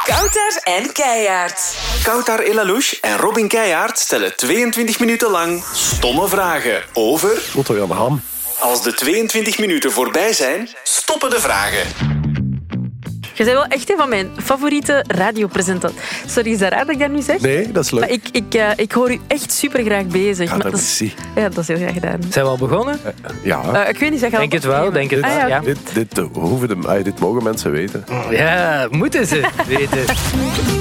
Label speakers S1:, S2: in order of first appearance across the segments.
S1: Kouter en Keijaard.
S2: Koutar Elalouche en Robin Keijaard stellen 22 minuten lang stomme vragen over...
S3: Otto Jan Ham.
S2: Als de 22 minuten voorbij zijn, stoppen de vragen.
S4: Je bent wel echt een van mijn favoriete radiopresentatoren. Sorry, is dat raar dat ik dat nu zeg?
S3: Nee, dat is
S4: Maar
S3: leuk.
S4: ik, ik, eh, ik hoor u echt super graag bezig.
S3: Ja,
S4: Maar
S3: dat
S4: dat
S3: is
S4: is-
S3: zie.
S4: ja, dat is heel graag gedaan.
S5: Zijn we al begonnen?
S3: Ja.
S4: Eh, ik weet niet, zeg je al
S5: Denk het wel,
S4: opnemen?
S5: denk het
S3: dit,
S5: wel.
S4: Ah, ja.
S5: ja.
S3: Dit, dit, eh, hoeven de, ah, dit mogen mensen weten.
S5: Ja, moeten ze weten.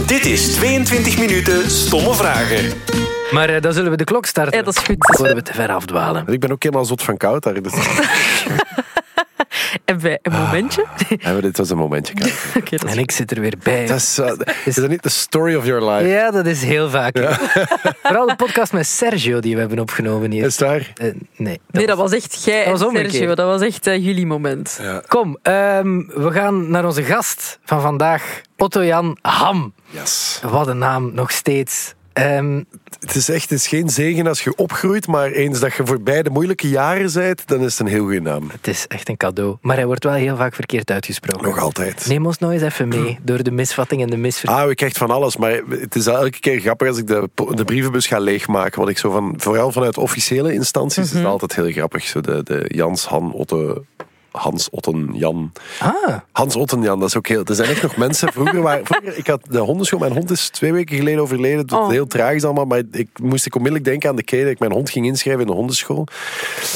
S2: Dit is 22 minuten stomme vragen.
S5: Maar eh, dan zullen we de klok starten.
S4: Ja, dat is goed.
S5: Voordat we te ver afdwalen.
S3: Ik ben ook helemaal zot van koud daar. Dus
S4: Hebben wij
S3: Ah.
S4: een momentje?
S3: hebben we dit als een momentje gehad.
S4: Oké, dat is
S5: En ik zit er weer bij.
S3: Dat is, eh, is dat niet de story of your life?
S5: Ja, dat is heel vaak. Vooral de podcast met Sergio die we hebben opgenomen hier.
S3: Is daar?
S5: Eh, nee.
S4: Nee, dat was echt jij en
S5: was omgekeerd.
S4: Sergio. Dat was echt eh, jullie moment.
S5: Kom, ehm, we gaan naar onze gast van vandaag, Otto-Jan Ham.
S3: Yes.
S5: Wat een naam, nog steeds. Ehm,
S3: Het is echt het is geen zegen als je opgroeit, maar eens dat je voorbij de moeilijke jaren bent, dan is het een heel goede naam.
S5: het is echt een cadeau. Maar hij wordt wel heel vaak verkeerd uitgesproken.
S3: Nog altijd.
S5: Neem ons nou eens even mee door de misvatting en de misverstand.
S3: Ah, we krijgen van alles, maar het is elke keer grappig als ik de, de brievenbus ga leegmaken. Wat ik zo van, vooral vanuit officiële instanties, is het altijd heel grappig. Zo de, de Jans, Han, Otte, Hans, Otten, Jan.
S5: Ah,
S3: Hans Otten, Jan, dat is ook heel... Er zijn echt nog mensen... Vroeger, waren, vroeger ik had de hondenschool. Mijn hond is twee weken geleden overleden. Dat
S4: Oh.
S3: heel tragisch allemaal. Maar ik moest ik onmiddellijk denken aan de keer dat ik mijn hond ging inschrijven in de hondenschool.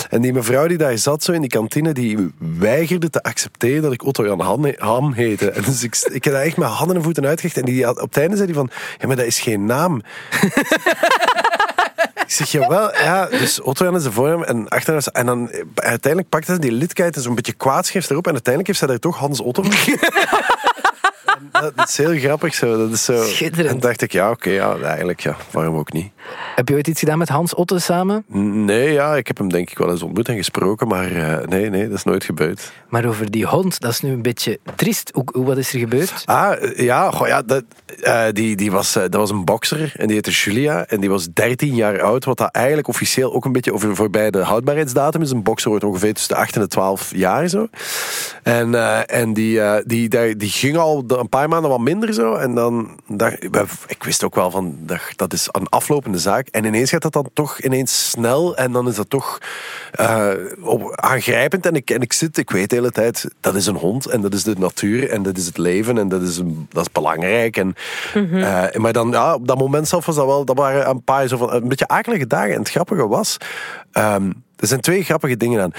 S3: En die mevrouw die daar zat zo in die kantine, die weigerde te accepteren dat ik Otto-Jan Han- Ham heette. En dus ik, ik heb daar echt mijn handen en voeten uitgelegd. En die had, op het einde zei die van... Ja, maar dat is geen naam. Ik zeg, jawel, ja, dus Otto-Jan is de voornaam en achternaam is... En dan eh, uiteindelijk pakte ze die lidkheid en zo'n beetje kwaadschrift erop en uiteindelijk heeft ze daar toch Hans Otto van En dat, dat is heel grappig zo. Dat is zo.
S5: Schitterend.
S3: En dacht ik, ja, oké, ja, eigenlijk, ja, waarom ook niet?
S5: heb je ooit iets gedaan met Hans Otten samen?
S3: Nee, ja, ik heb hem denk ik wel eens ontmoet en gesproken, maar eh, nee, nee, dat is nooit gebeurd.
S5: Maar over die hond, dat is nu een beetje triest. Hoe, hoe- wat is er gebeurd?
S3: Ah, eh, ja, goh, ja dat, eh, die, die was, eh, dat was een bokser en die heette Julia en die was 13 jaar oud, wat dat eigenlijk officieel ook een beetje over, voorbij de houdbaarheidsdatum is. Een bokser wordt ongeveer tussen de 8 en de 12 jaar zo. En, eh, en die, eh, die, die, die ging al de- een paar maanden wat minder zo en dan, dacht- ik wist ook wel van, dat, dat is een aflopende zaak. En ineens gaat dat dan toch ineens snel en dan is dat toch eh, op, aangrijpend. En ik, en ik zit, ik weet de hele tijd, dat is een hond en dat is de natuur en dat is het leven en dat is, een- dat is belangrijk. En, eh, maar dan, ja, op dat moment zelf was dat wel, dat waren een paar zo van, een beetje akelige dagen. En het grappige was, ehm, er zijn twee grappige dingen aan.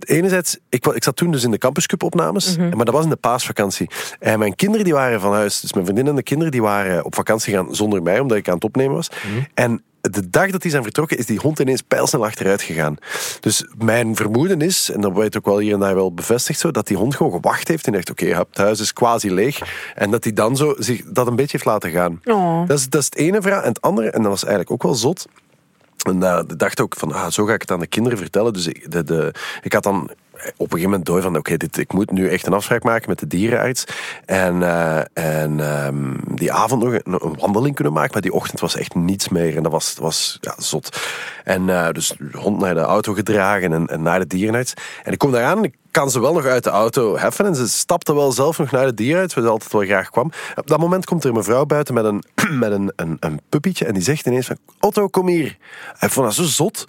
S3: Enerzijds, ik, wa- ik zat toen dus in de Campus Cup opnames, maar dat was in de paasvakantie. En mijn kinderen die waren van huis, dus mijn vriendin en de kinderen die waren op vakantie gaan zonder mij, omdat ik aan het opnemen was. En de dag dat die zijn vertrokken, is die hond ineens pijlsnel achteruit gegaan. Dus mijn vermoeden is, en dat werd ook wel hier en daar wel bevestigd zo, dat die hond gewoon gewacht heeft en dacht, oké, hup, het huis is quasi leeg. En dat hij dan zo zich dat een beetje heeft laten gaan.
S4: Oh.
S3: Dat, is, dat is het ene verhaal. En het andere, en dat was eigenlijk ook wel zot, en eh, ik dacht ook van, ah, zo ga ik het aan de kinderen vertellen. Dus ik, de, de, ik had dan op een gegeven moment door van, oké, dit ik moet nu echt een afspraak maken met de dierenarts. En, eh, en ehm, die avond nog een, een wandeling kunnen maken, maar die ochtend was echt niets meer. En dat was, was ja, zot. En eh, dus de hond naar de auto gedragen en, en naar de dierenarts. En ik kom daaraan en ik kan ze wel nog uit de auto heffen. En ze stapte wel zelf nog naar de dierenarts, waar ze altijd wel graag kwam. Op dat moment komt er een mevrouw buiten met een, met een, een, een puppietje. En die zegt ineens van, Otto, kom hier. Hij vond dat zo zot.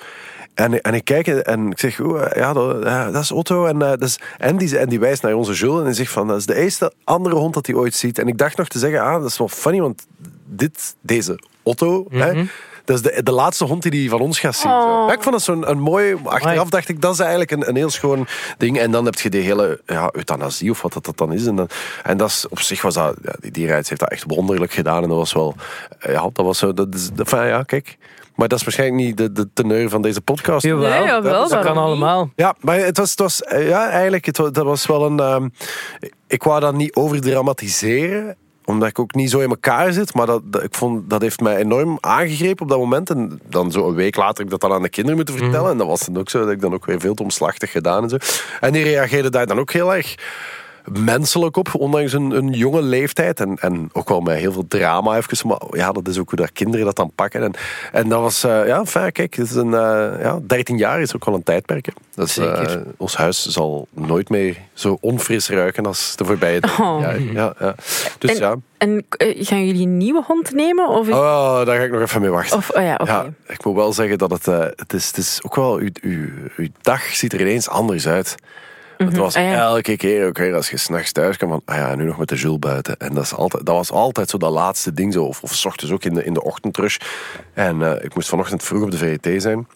S3: En, en ik kijk en ik zeg, "Oeh, ja, dat, ja, dat is Otto. En, eh, dat is, en, die, en die wijst naar onze Jules en die zegt van, dat is de eerste andere hond dat hij ooit ziet. En ik dacht nog te zeggen, ah, dat is wel funny, want dit, deze Otto, hè, dat is de, de laatste hond die hij van ons gaat zien. zo. Ja, ik vond dat zo'n een mooi, achteraf
S5: Amai.
S3: dacht ik, dat is eigenlijk een, een heel schoon ding. En dan heb je die hele ja, euthanasie of wat dat, dat dan is. En, dan, en dat is, op zich was dat, ja, die dierenarts heeft dat echt wonderlijk gedaan. En dat was wel, ja, dat was zo, dat is, dat- enfin, ja, kijk. Maar dat is waarschijnlijk niet de, de teneur van deze podcast.
S5: Jawel,
S4: Nee, jawel,
S5: dat,
S4: waarom
S5: kan
S4: niet?
S5: allemaal.
S3: Ja, maar het was, het was eh, ja, eigenlijk, het was, dat was wel een. ehm, ik wou dat niet overdramatiseren omdat ik ook niet zo in elkaar zit. Maar dat, dat- ik vond, dat heeft mij enorm aangegrepen op dat moment. En dan zo een week later heb ik dat dan aan de kinderen moeten vertellen. En dat was dan ook zo. Dat ik dan ook weer veel te omslachtig gedaan en zo. En die reageerden daar dan ook heel erg menselijk op, ondanks een, een jonge leeftijd. En, en ook wel met heel veel drama even. Maar ja, dat is ook hoe dat kinderen dat dan pakken. En, en dat was, eh, ja, fijn, kijk, het is een, eh, ja, 13 jaar is ook wel een tijdperk. hè. Dat is, eh,
S5: Zeker.
S3: ons huis zal nooit meer zo onfris ruiken als de voorbije 13
S4: Oh.
S3: jaar. Ja, ja. Dus
S4: En-
S3: ja.
S4: En eh, gaan jullie een nieuwe hond nemen? Of, is-
S3: Oh, daar ga ik nog even mee wachten.
S4: of oh ja, oké.
S3: Ja, ik moet wel zeggen dat het, eh, het, is, het is ook wel, uw, uw, uw dag ziet er ineens anders uit. Het was
S4: ah ja.
S3: elke keer ook weer als je s'nachts thuis kwam van, ah ja, nu nog met de Jules buiten. En dat, is altijd, dat was altijd zo dat laatste ding, zo, of, of s ochtends ook in de, in de ochtendrush. En eh, ik moest vanochtend vroeg op de VET zijn.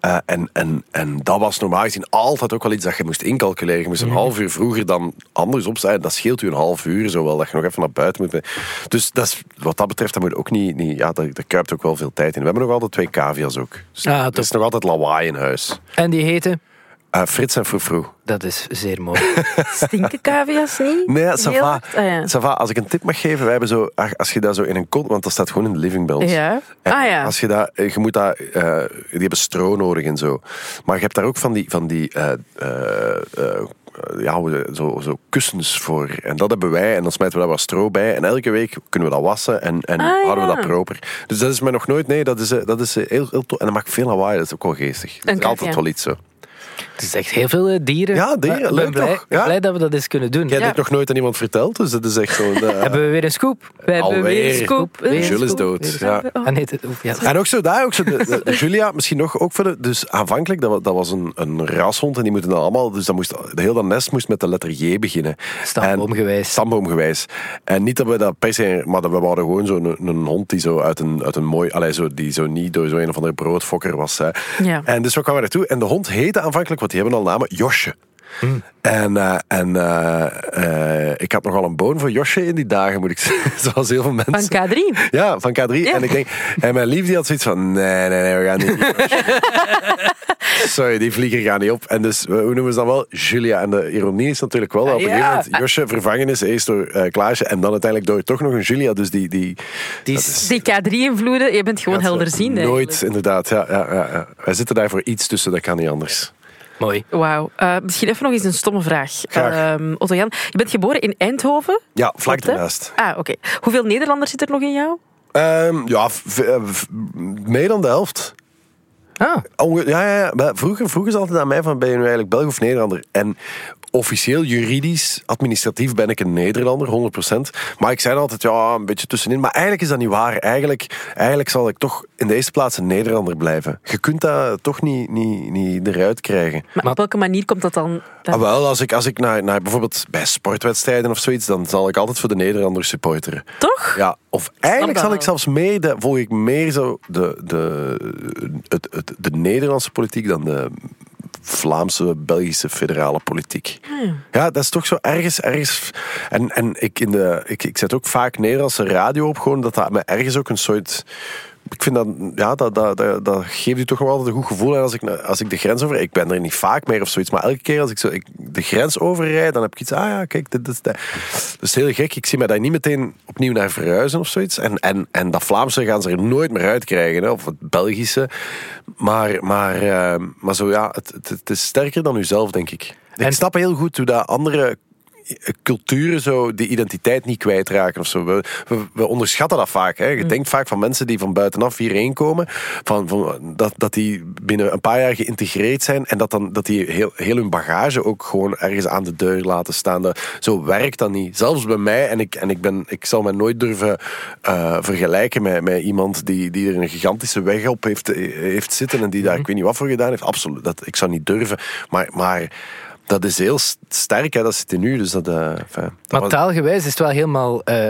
S3: Eh, en, en, en dat was normaal gezien altijd ook wel iets dat je moest incalculeren. Je moest een half uur vroeger dan anders opstaan. Dat scheelt u een half uur, zowel dat je nog even naar buiten moet. Dus dat is, wat dat betreft, dat moet ook niet, niet ja, daar, daar kuipt ook wel veel tijd in. We hebben nog altijd twee cavia's ook. Dus
S5: Ah,
S3: er is nog altijd lawaai in huis.
S5: En die heten?
S3: Eh, Frits en Froufrou.
S5: Dat is zeer mooi.
S4: Stinken cavia's niet?
S3: Nee, ja, ça
S4: Heel
S3: va.
S4: hard? Ah, ja.
S3: Ça va. Als ik een tip mag geven, wij hebben zo, ach, als je daar zo in een kot, want dat staat gewoon in de living bij ons.
S4: Ja.
S3: En
S4: Ah, ja.
S3: Als je daar, je moet daar, eh, die hebben stro nodig en zo. Maar je hebt daar ook van die, van die, eh, eh, eh, ja, hoe- zo, zo kussens voor. En dat hebben wij. En dan smijten we daar wat stro bij. En elke week kunnen we dat wassen en, en
S4: Ah,
S3: houden we
S4: ja.
S3: dat proper. Dus dat is mij nog nooit, nee, dat is, eh, dat is eh, heel, heel tof. En dat maakt veel lawaai, dat is ook wel geestig. Dat is
S4: Oké,
S3: altijd
S4: ja.
S3: wel iets zo.
S5: Het is echt heel veel eh, dieren.
S3: Ja, dieren,
S5: Maar Ik
S3: leuk
S5: ben blij,
S3: toch? Ja.
S5: blij dat we dat eens kunnen doen.
S3: Jij hebt
S5: Ja.
S3: dit nog nooit aan iemand verteld, dus dat is echt zo'n... eh,
S5: Hebben we weer een scoop? We hebben
S3: Alweer.
S5: weer een scoop.
S4: Weer een
S3: Jules is
S4: scoop.
S3: dood. Ja.
S5: Ah, nee, dat- oef, ja.
S3: En ook zo daar, ook zo de, de- de Julia, misschien nog ook voor de, Dus aanvankelijk, dat, wa- dat was een, een rashond en die moeten dan allemaal... Dus dat moest, de hele nest moest met de letter J beginnen.
S5: Stamboomgewijs.
S3: En- Stamboomgewijs. En niet dat we dat per se... Maar dat we wouden gewoon zo'n een hond die zo uit een, uit een mooi... Allee, zo, die zo niet door zo'n een of andere broodfokker was. Hè.
S4: Ja.
S3: En dus we kwamen naartoe. En de hond heette aanvankelijk, want die hebben al namen, Josje. En, eh, en eh, eh, ik had nogal een boon voor Josje in die dagen, moet ik zeggen. Zoals heel veel mensen.
S4: Van K3.
S3: Ja, van K3. En ik denk, en mijn lief die had zoiets van, nee, nee, nee, we gaan niet. Sorry, die vlieger gaan niet op. En dus, we- hoe noemen ze dat wel? Julia. En de ironie is natuurlijk wel dat op een
S5: Ja.
S3: gegeven moment Josje vervangen is, eerst door eh, Klaasje en dan uiteindelijk door toch nog een Julia. Dus die, die
S5: Die
S4: Die K3-invloeden, je bent gewoon helderziend.
S3: eh, Nooit,
S4: eigenlijk.
S3: inderdaad. Ja, ja, ja, ja. Wij zitten daar voor iets tussen, dat kan niet anders.
S5: Mooi.
S4: Wauw. Eh, misschien even nog eens een stomme vraag.
S3: Graag.
S4: Ehm, Otto Jan, je bent geboren in Eindhoven.
S3: Ja, vlak
S4: Klopt, hè?
S3: daarnaast.
S4: Ah, oké. Hoeveel Nederlanders zit er nog in jou?
S3: Ehm, ja, v- eh, v- meer dan de helft.
S5: Ah,
S3: Onge- ja, ja, ja. Maar vroeger vroegen ze altijd aan mij van ben je nu eigenlijk Belg of Nederlander? En officieel, juridisch, administratief ben ik een Nederlander, 100%. Maar ik zei altijd, ja, een beetje tussenin. Maar eigenlijk is dat niet waar. Eigenlijk, eigenlijk zal ik toch in de eerste plaats een Nederlander blijven. Je kunt dat toch niet, niet, niet eruit krijgen.
S4: Maar, op welke manier komt dat dan?
S3: Ah, wel, als ik, als ik naar, naar bijvoorbeeld bij sportwedstrijden of zoiets, dan zal ik altijd voor de Nederlanders supporteren.
S4: Toch?
S3: Ja, of eigenlijk
S4: dat
S3: zal ik
S4: wel.
S3: zelfs mee, de, volg ik meer zo de, de, het, het, de Nederlandse politiek dan de Vlaamse, Belgische federale politiek. Ja, dat is toch zo ergens, ergens. En, en ik, in de, ik, ik zet ook vaak Nederlandse radio op, gewoon dat dat me ergens ook een soort. Ik vind dat, ja, dat, dat, dat, dat geeft u toch wel altijd een goed gevoel. En als ik, na- als ik de grens over, ik ben er niet vaak meer of zoiets, maar elke keer als ik, zo, ik de grens overrijd, dan heb ik iets, ah ja, kijk, dit, dit, dat. dat is heel gek. Ik zie mij daar niet meteen opnieuw naar verhuizen of zoiets. En, en, en dat Vlaamse gaan ze er nooit meer uitkrijgen, hè, of het Belgische. Maar, maar, eh, maar zo ja, het, het, het is sterker dan uzelf, denk ik. Ik
S5: En-
S3: snap heel goed hoe dat andere eh, culturen zo die identiteit niet kwijtraken of zo. We, we, we onderschatten dat vaak. Hè. Je denkt vaak van mensen die van buitenaf hierheen komen, van, van, dat, dat die binnen een paar jaar geïntegreerd zijn en dat, dan, dat die heel, heel hun bagage ook gewoon ergens aan de deur laten staan. Dat, zo werkt dat niet. Zelfs bij mij, en ik, en ik, ben, ik zal mij nooit durven eh, vergelijken met, met iemand die, die er een gigantische weg op heeft, eh, heeft zitten en die daar ik weet niet wat voor gedaan heeft. Absoluut, dat, ik zou niet durven. Maar... maar dat is heel s- sterk, hè. dat zit in u. Dus dat, eh, enfin, dat
S5: maar
S3: was-
S5: taalgewijs is het wel helemaal eh,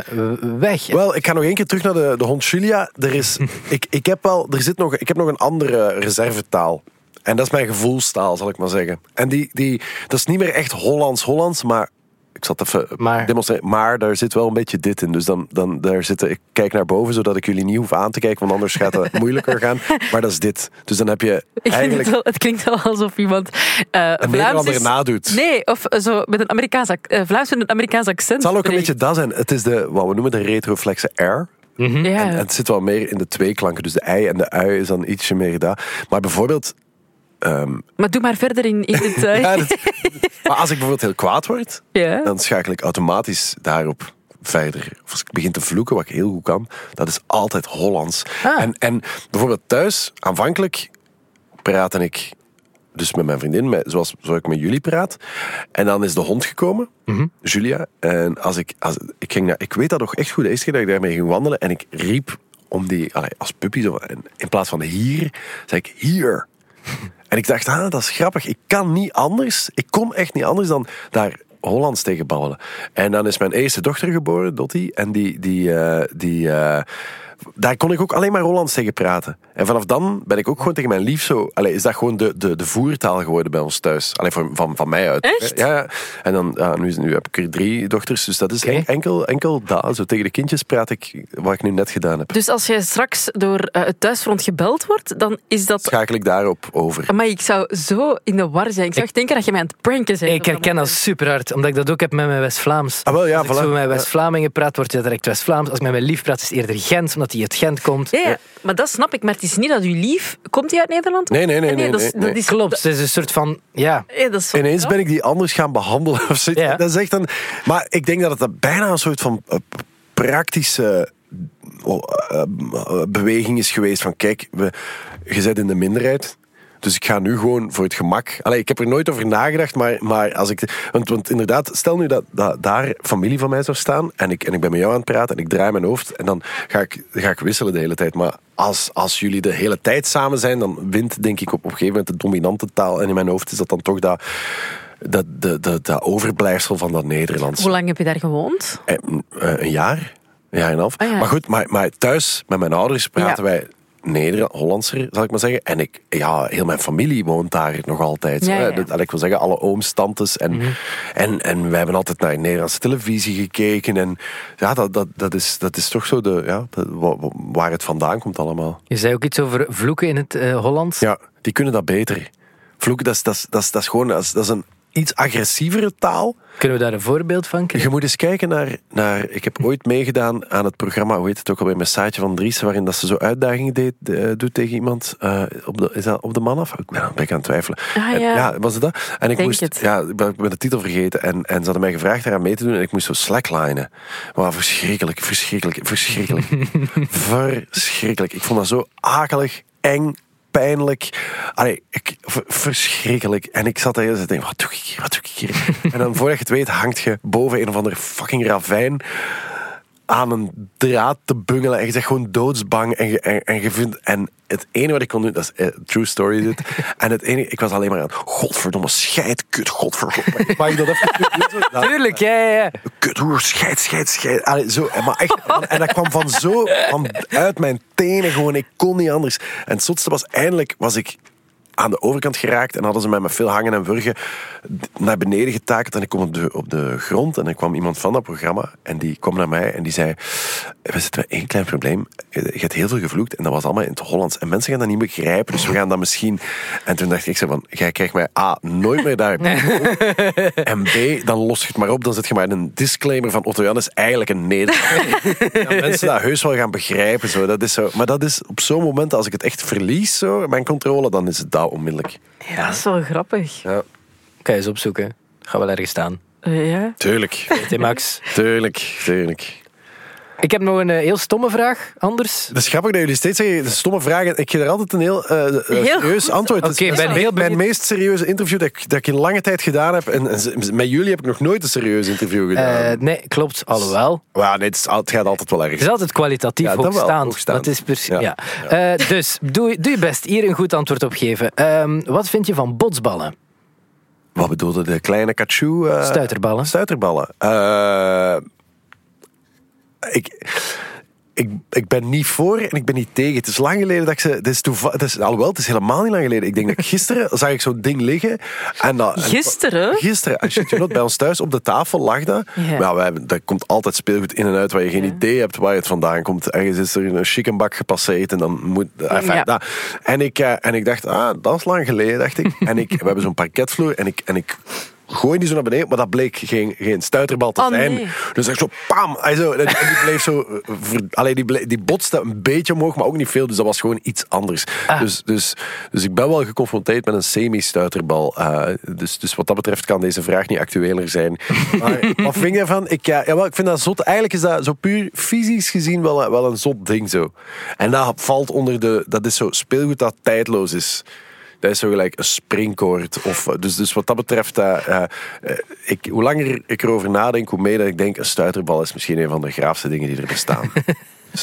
S5: weg.
S3: Wel, ik ga nog één keer terug naar de, de hond Julia. Er is, ik, ik, heb wel, er zit nog, ik heb nog een andere reservetaal. En dat is mijn gevoelstaal, zal ik maar zeggen. En die, die, dat is niet meer echt Hollands-Hollands, maar... Ik zat even
S5: Maar-
S3: demonstreren. Maar daar zit wel een beetje dit in. Dus dan, dan daar zitten, ik kijk naar boven, zodat ik jullie niet hoef aan te kijken, want anders gaat het moeilijker gaan. Maar dat is dit. Dus dan heb je
S4: Ik vind
S3: eigenlijk...
S4: het, wel, het klinkt wel alsof iemand eh Vlaams
S3: Nederlander
S4: is...
S3: nadoet.
S4: Nee, of eh, zo met een Amerikaans, ac- eh, Vlaams met een Amerikaans
S3: Het
S4: accent.
S3: zal ook een
S4: spreekt.
S3: beetje dat zijn. Het is de, wat we noemen de retroflexe R.
S4: Ja.
S3: En het zit wel meer in de tweeklanken. Dus de ei en de ui is dan ietsje meer daar. Maar bijvoorbeeld, ehm,
S4: Maar doe maar verder in, in het... eh,
S3: ja, dat- maar als ik bijvoorbeeld heel kwaad word,
S4: Ja.
S3: dan schakel ik automatisch daarop verder. Of als ik begin te vloeken, wat ik heel goed kan, dat is altijd Hollands.
S4: Ah.
S3: En, en bijvoorbeeld thuis, aanvankelijk praatte ik dus met mijn vriendin, met, zoals, zoals ik met jullie praat. En dan is de hond gekomen, Julia. En als ik, als, ik, ging naar, ik weet dat nog echt goed, de eerste keer dat ik daarmee ging wandelen. En ik riep om die, allee, als puppy, zo, en in plaats van hier, zei ik hier. En ik dacht, ah, dat is grappig. Ik kan niet anders. Ik kon echt niet anders dan daar Hollands tegen babbelen. En dan is mijn eerste dochter geboren, Dottie. En die, die, eh, die, eh, daar kon ik ook alleen maar Hollands tegen praten. En vanaf dan ben ik ook gewoon tegen mijn lief zo... Allee, is dat gewoon de, de, de voertaal geworden bij ons thuis. Alleen van, van, van mij uit.
S4: Echt?
S3: Ja, ja. En dan, ja, nu, is- nu heb ik er drie dochters. Dus dat is en- enkel, enkel dat. Zo tegen de kindjes praat ik wat ik nu net gedaan heb.
S4: Dus als jij straks door eh, het thuisfront gebeld wordt, dan is dat...
S3: Schakel ik daarop over.
S4: Maar ik zou zo in de war zijn. Ik zou echt denken dat je mij aan het pranken bent.
S5: Ik herken dat super hard, omdat ik dat ook heb met mijn West-Vlaams.
S3: Ah, wel, ja,
S5: Als ik
S3: voilà.
S5: zo met mijn West-Vlamingen praat, wordt je direct West-Vlaams. Als ik met mijn lief praat, is het eerder Gent, omdat hij uit Gent komt.
S4: Ja, ja, maar dat snap ik. Maar het is niet dat u lief... Komt hij uit Nederland?
S3: Nee, nee, nee, nee,
S4: dat, is-
S3: nee, nee.
S4: Dat is,
S5: Klopt, Dus het is een soort van... Ja,
S4: Ja, dat is zo-
S3: Ineens ben ik die anders gaan behandelen. Of zoiets.
S5: Ja.
S3: Dat is echt een, maar ik denk dat het een- bijna een soort van eh, praktische oh, eh, eh, beweging is geweest. Van kijk, we, je zit in de minderheid. Dus ik ga nu gewoon voor het gemak. Allee, ik heb er nooit over nagedacht, maar, maar als ik. Want, want inderdaad, stel nu dat, dat daar familie van mij zou staan. En ik, en ik ben met jou aan het praten en ik draai mijn hoofd. En dan ga ik, ga ik wisselen de hele tijd. Maar als, als jullie de hele tijd samen zijn, dan wint denk ik op, op een gegeven moment de dominante taal. En in mijn hoofd is dat dan toch dat, dat, dat, dat, dat overblijfsel van dat Nederlands.
S4: Hoe lang heb je daar gewoond?
S3: Eh, eh, een jaar, een jaar en een half.
S4: Ah, ja.
S3: Maar goed, maar, maar thuis met mijn ouders praten
S4: Ja.
S3: wij Nederland, Hollandser, zal ik maar zeggen. En ik, ja, heel mijn familie woont daar nog altijd.
S4: Ja,
S3: hè.
S4: ja, Mhm. ja.
S3: Dat- dat ik wil zeggen, alle ooms, tantes. En, en, en wij hebben altijd naar Nederlandse televisie gekeken. En ja, dat, dat, dat, is, dat is toch zo de, ja, de- wa- wa- waar het vandaan komt allemaal.
S5: je zei ook iets over vloeken in het eh, Hollands.
S3: Ja, die kunnen dat beter. Vloeken, dat is, dat is, dat is, dat is gewoon dat is, dat is een iets agressievere taal.
S5: Kunnen we daar een voorbeeld van krijgen?
S3: Je moet eens kijken naar, naar... Ik heb ooit meegedaan aan het programma, hoe heet het ook alweer, met Saatje van Driessen, waarin dat ze zo uitdagingen deed, eh, doet tegen iemand. eh, op de, is dat op de man af? Ik ben, ben ik aan het twijfelen.
S4: Ah,
S3: En-
S4: ja.
S3: was het dat? En ik
S4: Denk
S3: moest...
S4: het.
S3: Ja, ik ben ik ben de titel vergeten. En, en ze hadden mij gevraagd eraan mee te doen en ik moest zo slacklinen. Maar verschrikkelijk, verschrikkelijk, verschrikkelijk. verschrikkelijk. Ik vond dat zo akelig, eng, pijnlijk. Allee, ik, v- verschrikkelijk. En ik zat daar en denk, wat doe ik hier, wat doe ik hier? en dan voordat je het weet hangt je boven een of ander fucking ravijn aan een draad te bungelen en je zegt gewoon doodsbang en je, en, en je vindt en het enige wat ik kon doen, dat is eh, true story dit en het enige, ik was alleen maar aan godverdomme scheid, kut, godverdomme mag ik dat even doen? Nou,
S5: Tuurlijk, ja, ja, ja.
S3: kut, hoer, scheid, scheid, scheid Allee, zo, en maar echt, en, en dat kwam van zo van uit mijn tenen gewoon, ik kon niet anders en het zotste was, eindelijk was ik aan de overkant geraakt en hadden ze mij met veel hangen en wurgen naar beneden getakeld. En ik kom op de, op de grond en er kwam iemand van dat programma en die kwam naar mij en die zei: We zitten met één klein probleem. Je je hebt heel veel gevloekt en dat was allemaal in het Hollands. En mensen gaan dat niet begrijpen, dus we gaan dat misschien. En toen dacht ik: ik zei van, Jij krijgt mij A, nooit meer daar. en B, dan los je het maar op. Dan zet je maar in een disclaimer van Otto Jan is eigenlijk een Nederlander. Ja, mensen dat heus wel gaan begrijpen. Zo. Dat is zo. Maar dat is op zo'n moment, als ik het echt verlies, zo, mijn controle, dan is het dat onmiddellijk.
S4: Ja, dat is wel grappig.
S3: Ja,
S5: Kan je eens opzoeken. Ga wel ergens staan.
S4: Eh, ja.
S3: tuurlijk.
S5: Hey, Max.
S3: Tuurlijk, tuurlijk.
S5: Ik heb nog een eh, heel stomme vraag, anders.
S3: Het is grappig dat jullie steeds zeggen, de stomme vragen. Ik geef er altijd een heel, eh, eh,
S4: Heel
S3: serieus antwoord. Het is
S5: Oké, ben
S3: mijn,
S5: heel
S3: mijn
S5: benieuwd.
S3: meest serieuze interview dat ik, dat ik in lange tijd gedaan heb. En, en z- met jullie heb ik nog nooit een serieus interview gedaan.
S5: Eh, nee, klopt, alhoewel.
S3: maar nee, het, is al- het gaat altijd wel
S5: Het is
S3: ergens.
S5: altijd kwalitatief
S3: Ja, dat wel,
S5: hoogstaand.
S3: hoogstaand.
S5: Dat is precies.
S3: Ja.
S5: Ja. Eh, dus doe, doe je best hier een goed antwoord op geven. Ehm, wat vind je van botsballen?
S3: Wat bedoelde de kleine kachu? eh,
S5: Stuiterballen.
S3: Stuiterballen. Eh, ik, ik, ik ben niet voor en ik ben niet tegen. Het is lang geleden dat ik ze... Het is toeval, het is, alhoewel, het is helemaal niet lang geleden. Ik denk dat ik gisteren zag ik zo'n ding liggen. En dat, en-
S4: Gisteren?
S3: Gisteren, als je het not, bij ons thuis op de tafel lag dat.
S4: Ja.
S3: Maar ja, wij hebben- dat komt altijd speelgoed in en uit waar je geen idee hebt waar het vandaan komt. Ergens is er een chickenbak gepasseerd en dan moet... enfin,
S4: Ja.
S3: dat. En, ik, eh, en ik dacht, ah, dat is lang geleden, dacht ik. en ik, we hebben zo'n parketvloer en ik, en ik gooi die zo naar beneden. Maar dat bleek geen, geen stuiterbal te
S4: Oh,
S3: zijn.
S4: nee.
S3: Dus echt zo, pam! Hij zo, en, en die bleef zo... eh, ver- allee, die, ble- die botste een beetje omhoog, maar ook niet veel. Dus dat was gewoon iets anders.
S4: Ah.
S3: Dus, dus, dus ik ben wel geconfronteerd met een semi-stuiterbal. eh, dus, dus wat dat betreft kan deze vraag niet actueler zijn. Maar wat vind je daarvan? Ik, ja, jawel, ik vind dat zot. Eigenlijk is dat zo puur fysisch gezien wel, een- wel een zot ding zo. En dat valt onder de... Dat is zo speelgoed dat tijdloos is. Dat is zo gelijk een springkoord. Of, eh, dus, dus wat dat betreft, eh, eh, eh, ik, hoe langer ik erover nadenk, hoe meer dat ik denk, een stuiterbal is misschien een van de graafste dingen die er bestaan.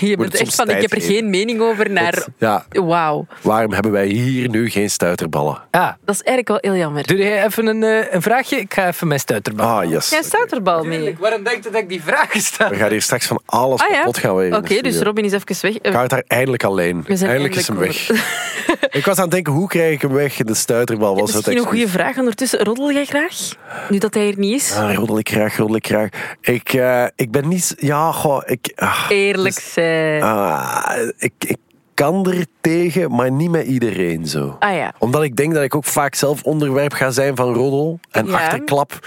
S4: Je
S3: het
S4: bent
S3: soms
S4: echt van, ik
S3: tijd
S4: heb er
S3: geven.
S4: geen mening over naar...
S3: ja,
S4: Wauw.
S3: waarom hebben wij hier nu geen stuiterballen?
S5: Ah,
S4: Dat is eigenlijk wel heel jammer.
S5: doe jij even een, eh, een vraagje? Ik ga even mijn stuiterbal.
S3: Ah, yes.
S4: Jij staat er bal mee.
S5: Waarom denk je dat ik die vraag stel?
S3: We gaan hier straks van alles
S4: Ah ja?
S3: kapot gaan wegen.
S4: Oké, dus Robin is even weg. Eh,
S3: Ik hou het daar eindelijk alleen.
S4: We zijn
S3: Eindelijk is hem
S4: eindelijk
S3: weg. ik was aan het denken, hoe krijg ik hem weg? De stuiterbal was het
S4: Misschien een goede
S3: excuus.
S4: vraag ondertussen. Roddel jij graag? Nu dat hij er niet is.
S3: Ah, roddel ik graag, roddel ik graag. Ik, eh, ik ben niet... Ja, goh, ik... ah.
S4: Eerlijk zijn.
S3: Ah, ik, ik kan er tegen, maar niet met iedereen zo.
S4: Ah ja.
S3: Omdat ik denk dat ik ook vaak zelf onderwerp ga zijn van roddel en
S4: Ja.
S3: achterklap.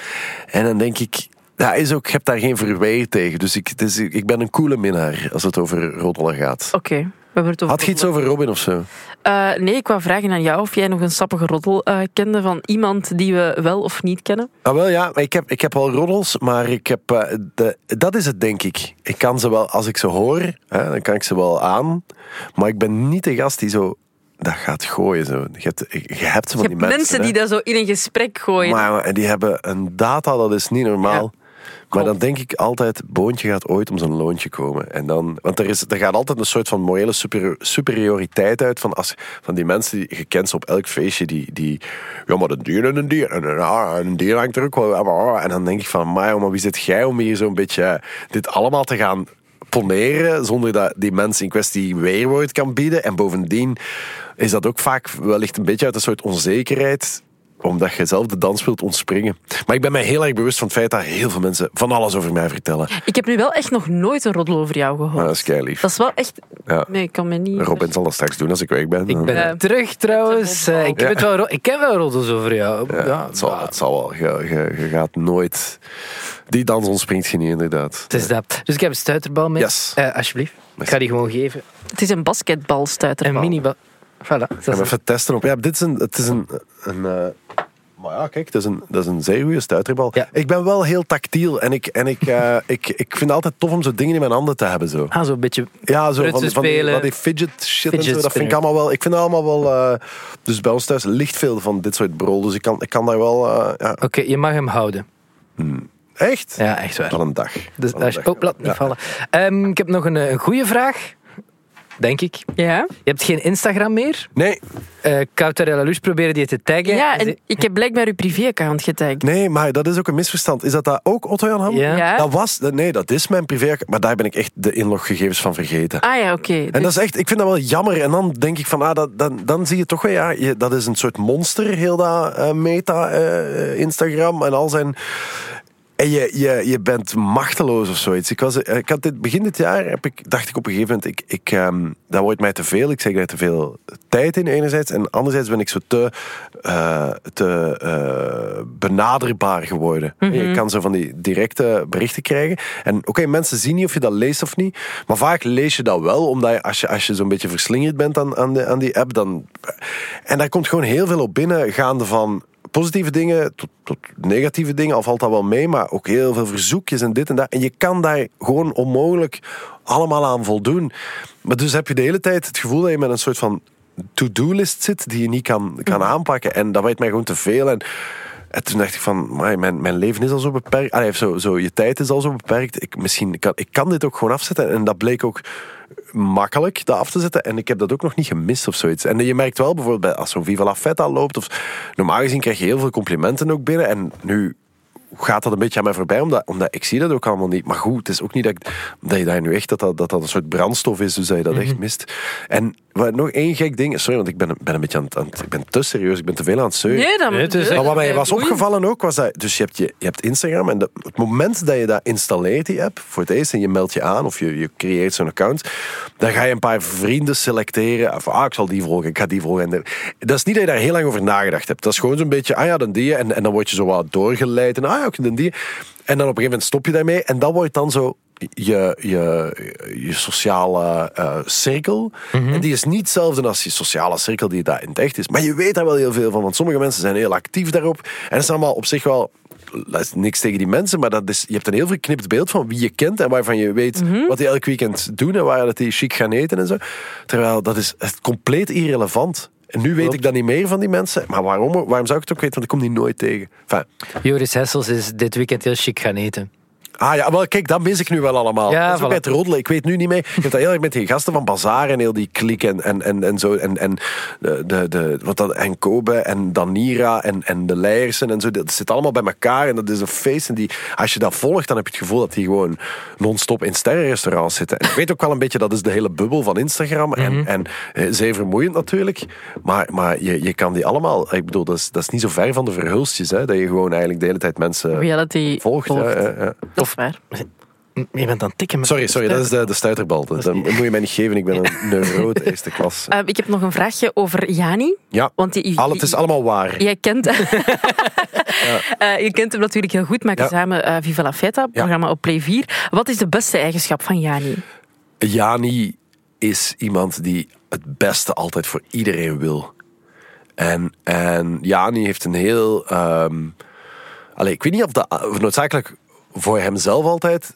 S3: En dan denk ik, dat is ook, ik heb daar geen verweer tegen. Dus ik, het is- ik ben een coole minnaar als het over roddelen gaat.
S4: Oké, we hebben het over
S3: Had je iets over Robin of zo?
S4: Eh, nee, ik wou vragen aan jou of jij nog een sappige roddel eh, kende van iemand die we wel of niet kennen.
S3: Ah, wel ja, maar ik heb, ik heb wel roddels, maar ik heb, eh, de, dat is het denk ik. Ik kan ze wel, als ik ze hoor, hè, dan kan ik ze wel aan. Maar ik ben niet de gast die zo dat gaat gooien. Zo. Je, hebt, je hebt van
S4: Je
S3: die
S4: hebt
S3: mensen.
S4: mensen
S3: hè.
S4: die dat zo in een gesprek gooien.
S3: Maar ja, en die hebben een data, dat is niet normaal. maar
S4: klopt.
S3: dan denk ik altijd, Boontje gaat ooit om zijn loontje komen. En dan, want er, is, er gaat altijd een soort van morele superi- superioriteit uit van, als, van die mensen die je kent ze op elk feestje. Die, die, ja, maar een dier en een dier. En een, ah, en een dier hangt er ook wel. ah, ah. En dan denk ik van, maar, joh, maar wie zit jij om hier zo'n beetje eh, dit allemaal te gaan poneren zonder dat die mensen in kwestie weerwoord kan bieden. En bovendien is dat ook vaak wellicht een beetje uit een soort onzekerheid omdat je zelf de dans wilt ontspringen. Maar ik ben mij heel erg bewust van het feit dat heel veel mensen van alles over mij vertellen.
S4: Ik heb nu wel echt nog nooit een roddel over jou
S3: Maar
S4: gehoord.
S3: dat is kei lief.
S4: Dat is wel echt...
S3: Ja.
S4: Nee, ik kan me niet...
S3: Robin zal dat straks doen als ik weg ben.
S5: Ik ben
S4: Ja.
S5: terug trouwens. Eh, ik, heb
S3: Ja.
S5: het wel ro- ik ken wel roddels over jou. Ja,
S3: Ja, het, zal, het zal wel. Je, je- je gaat nooit... Die dans ontspringt je niet, inderdaad.
S5: Het is dat. Dus ik heb een stuiterbal mee.
S3: Yes.
S5: Eh, alsjeblieft. Ik ga die gewoon geven.
S4: Het is een basketbalstuiter.
S5: Een minibal. Voilà. Dat
S3: Ik
S5: is
S3: ga hem even testen op... Ja, dit is een... Het is een, een eh, maar ja, kijk, dat is een, dat is een zeer goede stuiterbal.
S5: Ja.
S3: Ik ben wel heel tactiel en, ik, en ik, eh, ik, ik vind het altijd tof om zo dingen in mijn handen te hebben. Zo.
S5: Ah, zo'n beetje.
S3: Ja, zo van,
S5: Prutsen
S3: die- van, die,
S5: spelen.
S3: van die fidget shit en
S5: Fidget
S3: zo. Dat vind ik
S5: spinner.
S3: allemaal wel. Ik vind dat allemaal wel. eh, dus bij ons thuis ligt veel van dit soort brol. Dus ik kan, ik kan daar wel. eh, ja.
S5: Oké, je mag hem houden.
S3: Echt?
S5: Ja, echt waar.
S3: Van een dag.
S5: Dus
S3: Van een
S5: als je,
S3: dag.
S5: oh, laat niet
S3: Ja.
S5: vallen. Ehm, ik heb nog een, eh, een goede vraag. Denk ik.
S4: Ja?
S5: Je hebt geen Instagram meer.
S3: Nee,
S5: Eh Cautarella Luz proberen die te taggen.
S4: Ja,
S5: Ze-
S4: en ik heb blijkbaar uw privéaccount getagd.
S3: nee, maar dat is ook een misverstand. Is dat dat ook Otto Jan Ham?
S5: Ja.
S4: Ja?
S3: Dat was. dat- Nee, dat is mijn privé. Maar daar ben ik echt de inloggegevens van vergeten.
S4: Ah ja, oké.
S3: En
S4: Dus-
S3: dat is echt, ik vind dat wel jammer. En dan denk ik van, ah, dat, dan, dan zie je toch wel, ja, je- dat is een soort monster, heel dat eh, meta, eh, Instagram en al zijn... En je, je, je bent machteloos of zoiets. Ik was, eh, ik had dit, begin dit jaar heb ik, dacht ik op een gegeven moment, ik, ik, ehm, dat wordt mij te veel. Ik zeg daar te veel tijd in enerzijds. En anderzijds ben ik zo te, eh, te eh, benaderbaar geworden. Je kan zo van die directe berichten krijgen. En oké, mensen zien niet of je dat leest of niet. Maar vaak lees je dat wel, omdat je, als je, als je zo'n beetje verslingerd bent aan, aan, de, aan die app, dan... En daar komt gewoon heel veel op binnen, gaande van positieve dingen tot, tot negatieve dingen, al valt dat wel mee, maar ook heel veel verzoekjes en dit en dat. En je kan daar gewoon onmogelijk allemaal aan voldoen. Maar dus heb je de hele tijd het gevoel dat je met een soort van to-do-list zit die je niet kan, kan aanpakken. En dat weet mij gewoon te veel. En, en toen dacht ik van, "Amai, mijn, mijn leven is al zo beperkt. Allee, of zo, zo, je tijd is al zo beperkt. Ik, misschien kan, ik kan dit ook gewoon afzetten. En dat bleek ook makkelijk dat af te zetten. En ik heb dat ook nog niet gemist of zoiets. En je merkt wel bijvoorbeeld bij, als zo'n Viva La Feta loopt. Of, normaal gezien krijg je heel veel complimenten ook binnen. En nu gaat dat een beetje aan mij voorbij, omdat, omdat ik zie dat ook allemaal niet. Maar goed, het is ook niet dat, ik- dat je daar nu echt, dat dat, dat dat een soort brandstof is, dus dat je dat echt mist. En wat, nog één gek ding, sorry, want ik ben, ben een beetje aan het, aan het- ik ben te serieus, ik ben te veel aan het zeuren.
S4: Nee, dan...
S5: Nee, het is
S3: Maar
S5: echt-
S3: wat mij was
S4: Boeiend.
S3: opgevallen ook, was dat... Dus je hebt, je, je hebt Instagram en dat- het moment dat je dat installeert, die app, voor het eerst, en je meldt je aan of je, je creëert zo'n account, dan ga je een paar vrienden selecteren. Of, ah, ik zal die volgen, ik ga die volgen. En de- dat is niet dat je daar heel lang over nagedacht hebt. Dat is gewoon zo'n beetje, ah ja, dan die. En, en dan word je zo wat doorgeleid. En ah ja, ook dan die. En dan op een gegeven moment stop je daarmee. En dat wordt dan zo je, je, je sociale eh, cirkel. En die is niet hetzelfde als je sociale cirkel die daar in het echt is. Maar je weet daar wel heel veel van, want sommige mensen zijn heel actief daarop. En dat is allemaal op zich wel dat is niks tegen die mensen, maar dat is, je hebt een heel verknipt beeld van wie je kent en waarvan je weet wat die elk weekend doen en waar dat die chic gaan eten en zo. Terwijl dat is echt compleet irrelevant. En nu weet ik dat niet meer van die mensen. Maar waarom, waarom zou ik het ook weten? Want ik kom die nooit tegen. Enfin,
S5: Joris Hessels is dit weekend heel chic gaan eten.
S3: Ah ja, wel kijk, dat mis ik nu wel allemaal.
S5: Ja,
S3: dat is ook
S5: voilà.
S3: bij het roddelen. Ik weet nu niet meer. Je hebt dat heel erg met die gasten van Bazaar en heel die klik en, en, en, en zo. En, en, de, de, de, wat dat, en Kobe en Danira en, en de Leiersen en zo. Dat zit allemaal bij elkaar en dat is een feest. En die, als je dat volgt, dan heb je het gevoel dat die gewoon non-stop in sterrenrestaurants zitten. En ik weet ook wel een beetje, dat is de hele bubbel van Instagram. En,
S5: Mhm.
S3: en eh, zeer vermoeiend natuurlijk. Maar, maar je, je kan die allemaal... Ik bedoel, dat is, dat is niet zo ver van de verhulstjes. Hè, dat je gewoon eigenlijk de hele tijd mensen
S4: Reality
S3: volgt. hè. eh,
S4: volgt.
S3: Ja, ja.
S4: Dat is waar.
S5: M- Je bent aan het tikken. maar-
S3: Sorry, sorry, dat is de, de stuiterbal. Dat, dat moet je mij niet geven, ik ben een neuroot eerste klas.
S4: Eh, ik heb nog een vraagje over Jani.
S3: Ja,
S4: Want die,
S3: Al, het is allemaal waar.
S4: Jij kent, Eh, je kent hem natuurlijk heel goed, maken
S3: Ja.
S4: samen eh, Viva la Feta, programma op Play 4. Wat is de beste eigenschap van Jani?
S3: Jani is iemand die het beste altijd voor iedereen wil. En, en Jani heeft een heel... ehm allee, ik weet niet of dat eh, noodzakelijk voor hemzelf altijd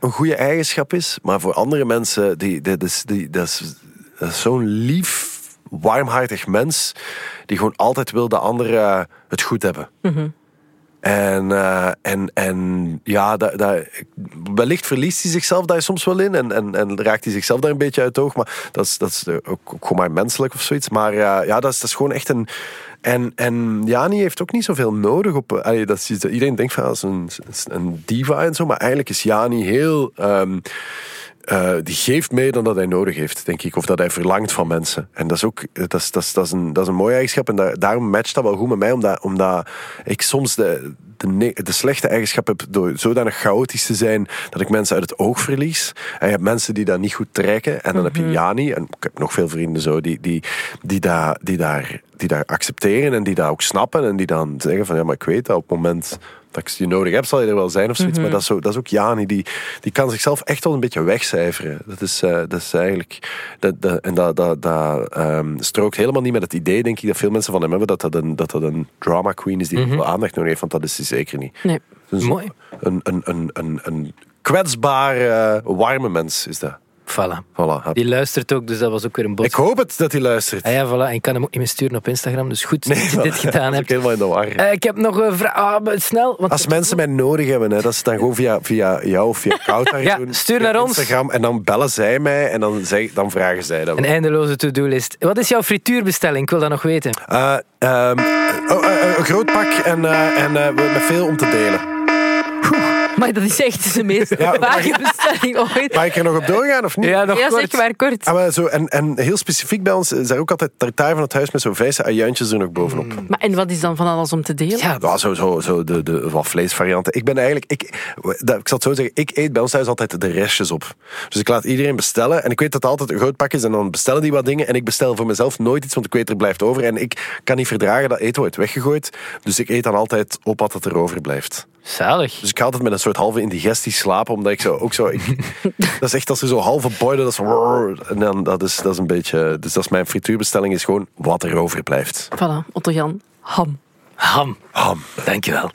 S3: een goede eigenschap is. Maar voor andere mensen, die, dat is- die, dat is, dat is zo'n lief, warmhartig mens... die gewoon altijd wil dat anderen het goed hebben. En, eh, en, en ja, daar, daar, wellicht verliest hij zichzelf daar soms wel in. En, en, en raakt hij zichzelf daar een beetje uit het oog. Maar dat is, dat is eh, ook, ook gewoon maar menselijk of zoiets. Maar eh, ja, dat is, dat is gewoon echt een. En, en Jani heeft ook niet zoveel nodig. Op, eh, allee, dat is iets dat iedereen denkt van ah, dat is een, is een diva en zo. Maar eigenlijk is Jani heel. ehm, eh, die geeft meer dan dat hij nodig heeft, denk ik. Of dat hij verlangt van mensen. En dat is ook eh, dat is, dat is, dat is, een, dat is een mooie eigenschap. En daar- daarom matcht dat wel goed met mij. Omdat, omdat ik soms de, de, ne- de slechte eigenschap heb door zodanig chaotisch te zijn... dat ik mensen uit het oog verlies. En je hebt mensen die dat niet goed trekken. En dan heb je Jani. En ik heb nog veel vrienden zo die, die, die, daar die, daar, die daar accepteren. En die dat ook snappen. En die dan zeggen van... Ja, maar ik weet dat op het moment dat ik je nodig heb, zal je er wel zijn of zoiets.
S5: Mhm.
S3: Maar dat is, zo, dat is ook Jani, die, die kan zichzelf echt wel een beetje wegcijferen. Dat is, eh, dat is eigenlijk... Dat, dat, en dat, dat, dat ehm, strookt helemaal niet met het idee, denk ik, dat veel mensen van hem hebben, dat dat een, dat dat een drama queen is die heel veel aandacht nodig heeft, want dat is hij zeker niet.
S4: Nee.
S3: Dus een-
S5: Mhm. Mooi.
S3: Een, een, een, een, een kwetsbare, warme mens is dat.
S5: Voilà.
S3: Voilà.
S5: Die luistert ook, dus dat was ook weer een
S3: Ik
S5: boodschap.
S3: hoop het dat hij luistert.
S5: Ah ja, voilà. En ik kan hem ook niet meer sturen op Instagram. Dus goed dat je dit
S3: Dat is ook
S5: gedaan hebt.
S3: helemaal in de war.
S5: Eh, ik heb nog een vraag. Ah, maar snel. Want
S3: Als mensen mij nodig hebben, hè, dat ze het dan gewoon via, via jou of via Kouter
S5: Ja,
S3: doen.
S5: stuur
S3: via
S5: naar ons.
S3: Instagram, en dan bellen zij mij en dan, zeg, dan vragen zij dat.
S5: Een eindeloze to-do-list. Wat is jouw frituurbestelling? Ik wil dat nog weten.
S3: Eh, ehm, oh, eh, eh, een groot pak en, eh, en eh, met veel om te delen.
S4: Maar dat is echt de meest
S3: Ja,
S4: vage bestelling ooit.
S3: Mag ik er nog op doorgaan of niet?
S5: nog
S4: Ja, zeg maar kort.
S3: Ah, maar zo, en, en heel specifiek bij ons is er ook altijd tartaar van het huis met zo'n vijse ajuintjes er nog bovenop.
S4: Maar en wat is dan van alles om te delen?
S5: Ja,
S3: Ja, zo, zo, zo de, de wat vleesvarianten. Ik ben eigenlijk, ik, dat, ik zal het zo zeggen, ik eet bij ons thuis altijd de restjes op. Dus ik laat iedereen bestellen. En ik weet dat het altijd een groot pak is. En dan bestellen die wat dingen. En ik bestel voor mezelf nooit iets, want ik weet er blijft over. En ik kan niet verdragen dat eten wordt weggegooid. Dus ik eet dan altijd op wat het er overblijft.
S5: zalig.
S3: Dus ik ga altijd met een soort halve indigestie slapen, omdat ik zo ook zo. Ik, dat is echt als er zo halve boilen, dat is. En dan, dat, is, dat is een beetje. Dus dat is mijn frituurbestelling, is gewoon wat er overblijft.
S4: Voilà, Otto Jan. Ham.
S5: Ham.
S3: Ham.
S5: Dankjewel.